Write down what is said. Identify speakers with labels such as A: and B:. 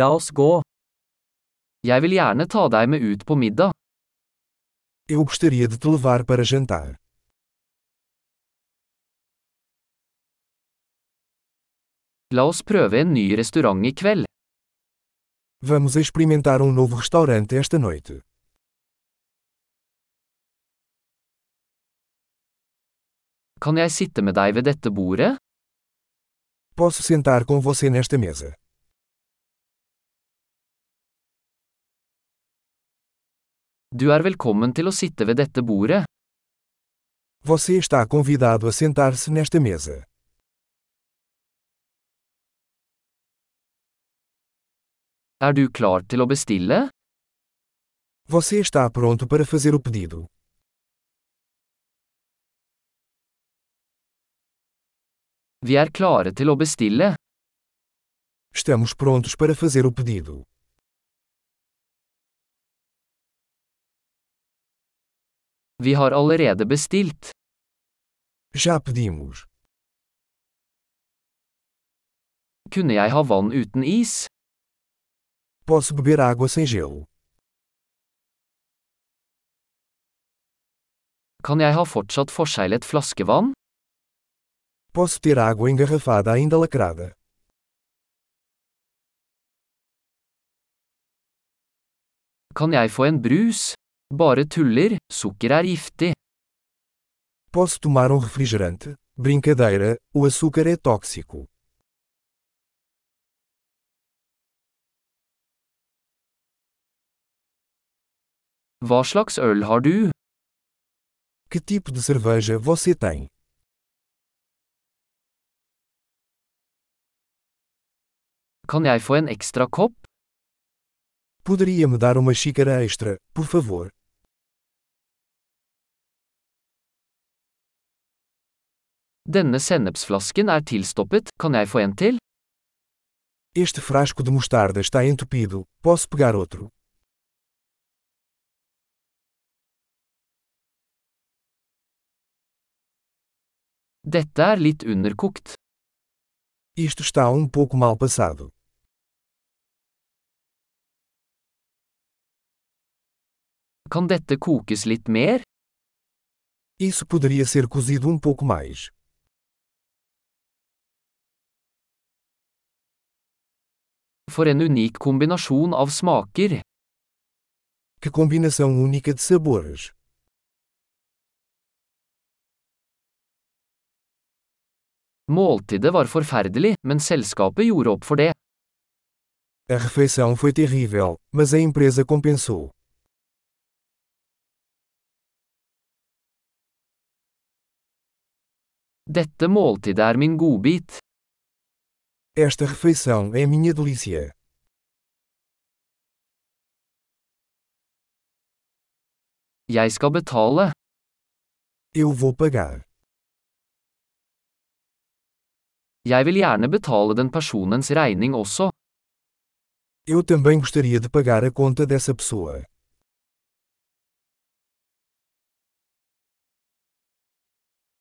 A: La oss gå. Jeg vil gjerne ta deg med ut på middag.
B: Eu gostaria de te levar para jantar.
A: La oss prøve en ny restaurant i kveld.
B: Vamos experimentar um novo restaurante esta noite.
A: Kan jeg sitte med deg ved dette bordet?
B: Posso sentar com você nesta mesa.
A: Du er velkommen til å sitte ved dette bordet.
B: Você está convidado a sentar-se nesta mesa.
A: Er du klar til å bestille?
B: Você está pronto para fazer o pedido.
A: Vi er klare til å bestille.
B: Estamos prontos para fazer o pedido.
A: Vi har allerede bestilt.
B: Já pedimos.
A: Kunne jeg ha vann uten is?
B: Posso beber água sem gelo.
A: Kan jeg ha fortsatt forseglet flaskevann?
B: Posso ter água engarrafada ainda lacrada.
A: Kan jeg få en brus? Bare tuller, sukker er giftig.
B: Posso tomar um refrigerante? Brincadeira, o açúcar é tóxico.
A: Hva slags øl har du?
B: Que tipo de cerveja você tem?
A: Kan jeg få en ekstra kopp?
B: Poderia me dar uma xícara extra, por favor?
A: Denne sennepsflasken er tilstoppet, kan jeg få en til?
B: Este frasco de mostarda está entupido, posso pegar outro?
A: Dette er litt underkokt.
B: Isto está um pouco mal passado.
A: Kan dette kokes litt mer?
B: Isso poderia ser cozido um pouco mais.
A: For en unik kombinasjon av smaker.
B: Que combinação única de sabores!
A: Måltidet var forferdelig, men selskapet gjorde opp for det.
B: A refeição foi terrível, mas a empresa compensou.
A: Dette måltidet er min godbit.
B: Esta refeição é minha delícia.
A: Jeg skal betale.
B: Eu vou pagar.
A: Jeg vil gjerne betale den personens regning også.
B: Eu também gostaria de pagar a conta dessa pessoa.